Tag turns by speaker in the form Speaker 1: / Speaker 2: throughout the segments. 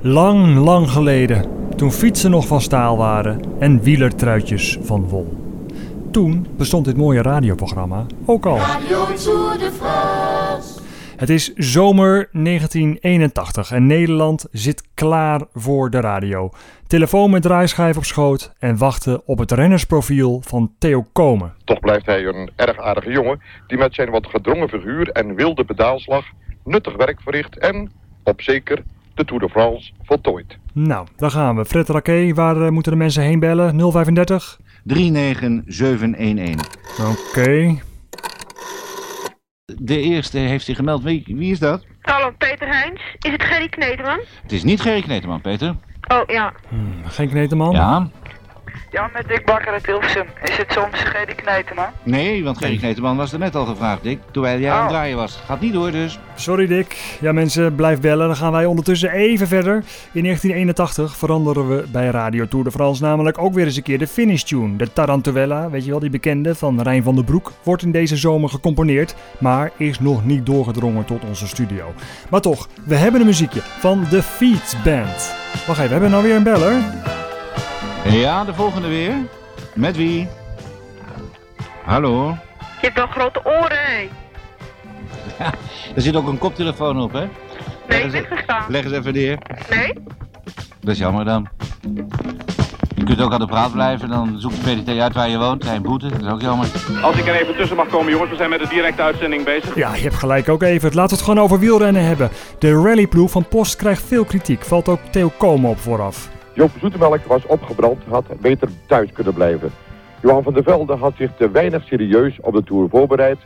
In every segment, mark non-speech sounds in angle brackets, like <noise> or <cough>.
Speaker 1: Lang, lang geleden, toen fietsen nog van staal waren en wielertruitjes van wol. Toen bestond dit mooie radioprogramma ook al.
Speaker 2: Radio Tour de France.
Speaker 1: Het is zomer 1981 en Nederland zit klaar voor de radio. Telefoon met draaischijf op schoot en wachten op het rennersprofiel van Theo Komen.
Speaker 3: Toch blijft hij een erg aardige jongen die met zijn wat gedrongen figuur en wilde pedaalslag nuttig werk verricht en, op zeker, de Tour de France voltooid.
Speaker 1: Nou, daar gaan we. Fred Raquet, waar eh, moeten de mensen heen bellen? 035?
Speaker 4: 39711.
Speaker 1: Oké.
Speaker 4: De eerste heeft zich gemeld. Wie, wie is dat?
Speaker 5: Hallo, Peter Heijns. Is het Gerry Kneteman?
Speaker 4: Het is niet Gerry Kneteman, Peter.
Speaker 5: Oh, ja.
Speaker 1: Geen kneteman?
Speaker 4: Ja.
Speaker 6: Ja, met Dick Bakker uit Hilversum. Is het soms Gerry Knijteman?
Speaker 4: Nee, want Gerry Kneteman was er net al gevraagd, Dick. Terwijl jij aan
Speaker 5: Oh.
Speaker 4: het draaien was. Gaat niet door dus.
Speaker 1: Sorry Dick. Ja mensen, blijf bellen. Dan gaan wij ondertussen even verder. In 1981 veranderen we bij Radio Tour de France namelijk ook weer eens een keer de finish tune. De Tarantella, weet je wel, die bekende van Rijn van den Broek, wordt in deze zomer gecomponeerd, maar is nog niet doorgedrongen tot onze studio. Maar toch, we hebben een muziekje van The Feet Band. Wacht even, we hebben nou weer een beller.
Speaker 4: Ja, de volgende weer. Met wie? Hallo.
Speaker 5: Je hebt wel grote oren, hé.
Speaker 4: Er zit ook een koptelefoon op, hè?
Speaker 5: Nee,
Speaker 4: is
Speaker 5: ik ben
Speaker 4: het.
Speaker 5: gestaan.
Speaker 4: Leg eens even neer.
Speaker 5: Nee?
Speaker 4: Dat is jammer dan. Je kunt ook aan de praat blijven, dan zoekt de PDT uit waar je woont. Hij boete, dat is ook jammer.
Speaker 7: Als ik er even tussen mag komen, jongens, we zijn met de directe uitzending bezig.
Speaker 1: Ja, je hebt gelijk ook even. Laten we het gewoon over wielrennen hebben. De rallyploeg van Post krijgt veel kritiek, valt ook Theo Komen op vooraf.
Speaker 3: Joop Zoetemelk was opgebrand, had beter thuis kunnen blijven. Johan van der Velde had zich te weinig serieus op de Tour voorbereid.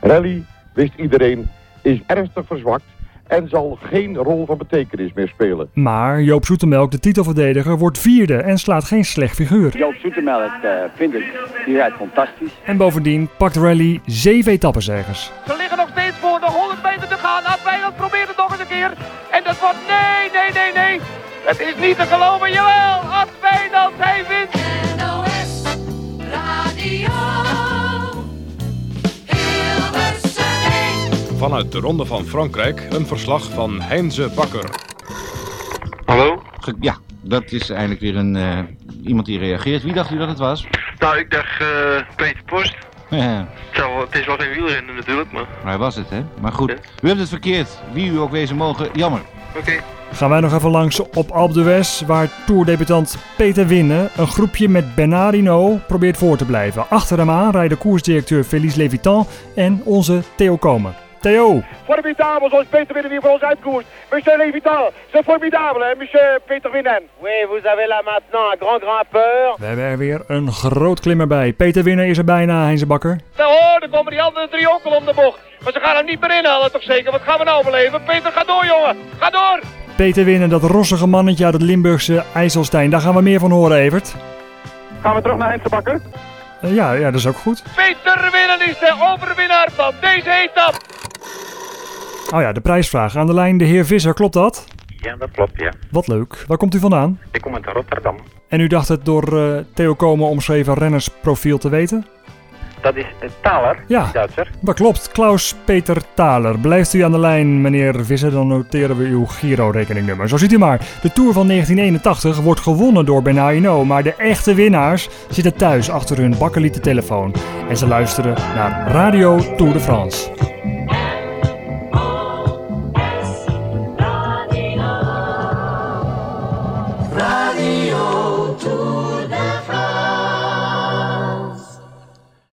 Speaker 3: Rally, wist iedereen, is ernstig verzwakt en zal geen rol van betekenis meer spelen.
Speaker 1: Maar Joop Zoetemelk, de titelverdediger, wordt vierde en slaat geen slecht figuur.
Speaker 8: Joop Zoetemelk eh vind ik hieruit fantastisch.
Speaker 1: En bovendien pakt Rally zeven etappenzegers.
Speaker 6: Ze liggen nog steeds voor, nog 100 meter te gaan. Adwijland probeert het nog eens een keer. En dat wordt nee, nee, nee, nee. Het is niet te geloven, jawel. Adwijland, hij wint.
Speaker 2: NOS Radio. Hilversum 1.
Speaker 7: Vanuit de Ronde van Frankrijk een verslag van Heinze Bakker.
Speaker 9: Hallo?
Speaker 4: Ge- Ja, dat is eindelijk weer een, eh, iemand die reageert. Wie dacht u dat het was?
Speaker 9: Nou, ik dacht eh, Peter
Speaker 4: <laughs>
Speaker 9: Post.
Speaker 4: Maar
Speaker 9: Het, zou wel- het is wel geen wielrennen natuurlijk, maar...
Speaker 4: Hij was het, hè? Maar goed, u hebt het verkeerd. Wie u ook wezen mogen, jammer.
Speaker 9: Oké.
Speaker 1: Gaan wij nog even langs op Alpe d'Huez, waar toerdebutant Peter Winnen een groepje met Bernardino probeert voor te blijven. Achter hem aan rijden koersdirecteur Félix Levitan en onze Theo Komen. Theo,
Speaker 6: Formidabel, zoals Peter Winnen weer voor ons uitkoerst. Monsieur Levital, ze formidabel, hè, monsieur Peter Winnen. Oui, vous avez là maintenant un grand grimpeur.
Speaker 1: we hebben er weer een groot klimmer bij. Peter Winnen is er bijna, Heinze Bakker.
Speaker 6: Nou hoor, dan komen die andere drie ook al om de bocht. Maar ze gaan hem niet meer inhalen, toch zeker? Wat gaan we nou beleven? Peter, ga door, jongen. Ga door.
Speaker 1: Peter Winnen, dat rossige mannetje uit het Limburgse IJsselstein, daar gaan we meer van horen, Evert.
Speaker 6: Gaan we terug naar Heinz Bakker?
Speaker 1: Eh, ja, ja, dat is ook goed.
Speaker 6: Peter Winnen is de overwinnaar van deze etappe.
Speaker 1: Oh ja, de prijsvraag. Aan de lijn de heer Visser, klopt dat?
Speaker 10: Ja, dat klopt, ja.
Speaker 1: Wat leuk. Waar komt u vandaan?
Speaker 10: Ik kom uit Rotterdam.
Speaker 1: En u dacht het door eh, Theo Komen omschreven rennersprofiel te weten?
Speaker 10: Dat is een Taler,
Speaker 1: Ja.
Speaker 10: Duitser.
Speaker 1: Dat klopt, Klaus Peter Thaler. Blijft u aan de lijn, meneer Visser, dan noteren we uw Giro-rekeningnummer. Zo ziet u maar, de Tour van 1981 wordt gewonnen door Bernardino, maar de echte winnaars zitten thuis achter hun bakkeliete telefoon. En ze luisteren naar Radio Tour de France.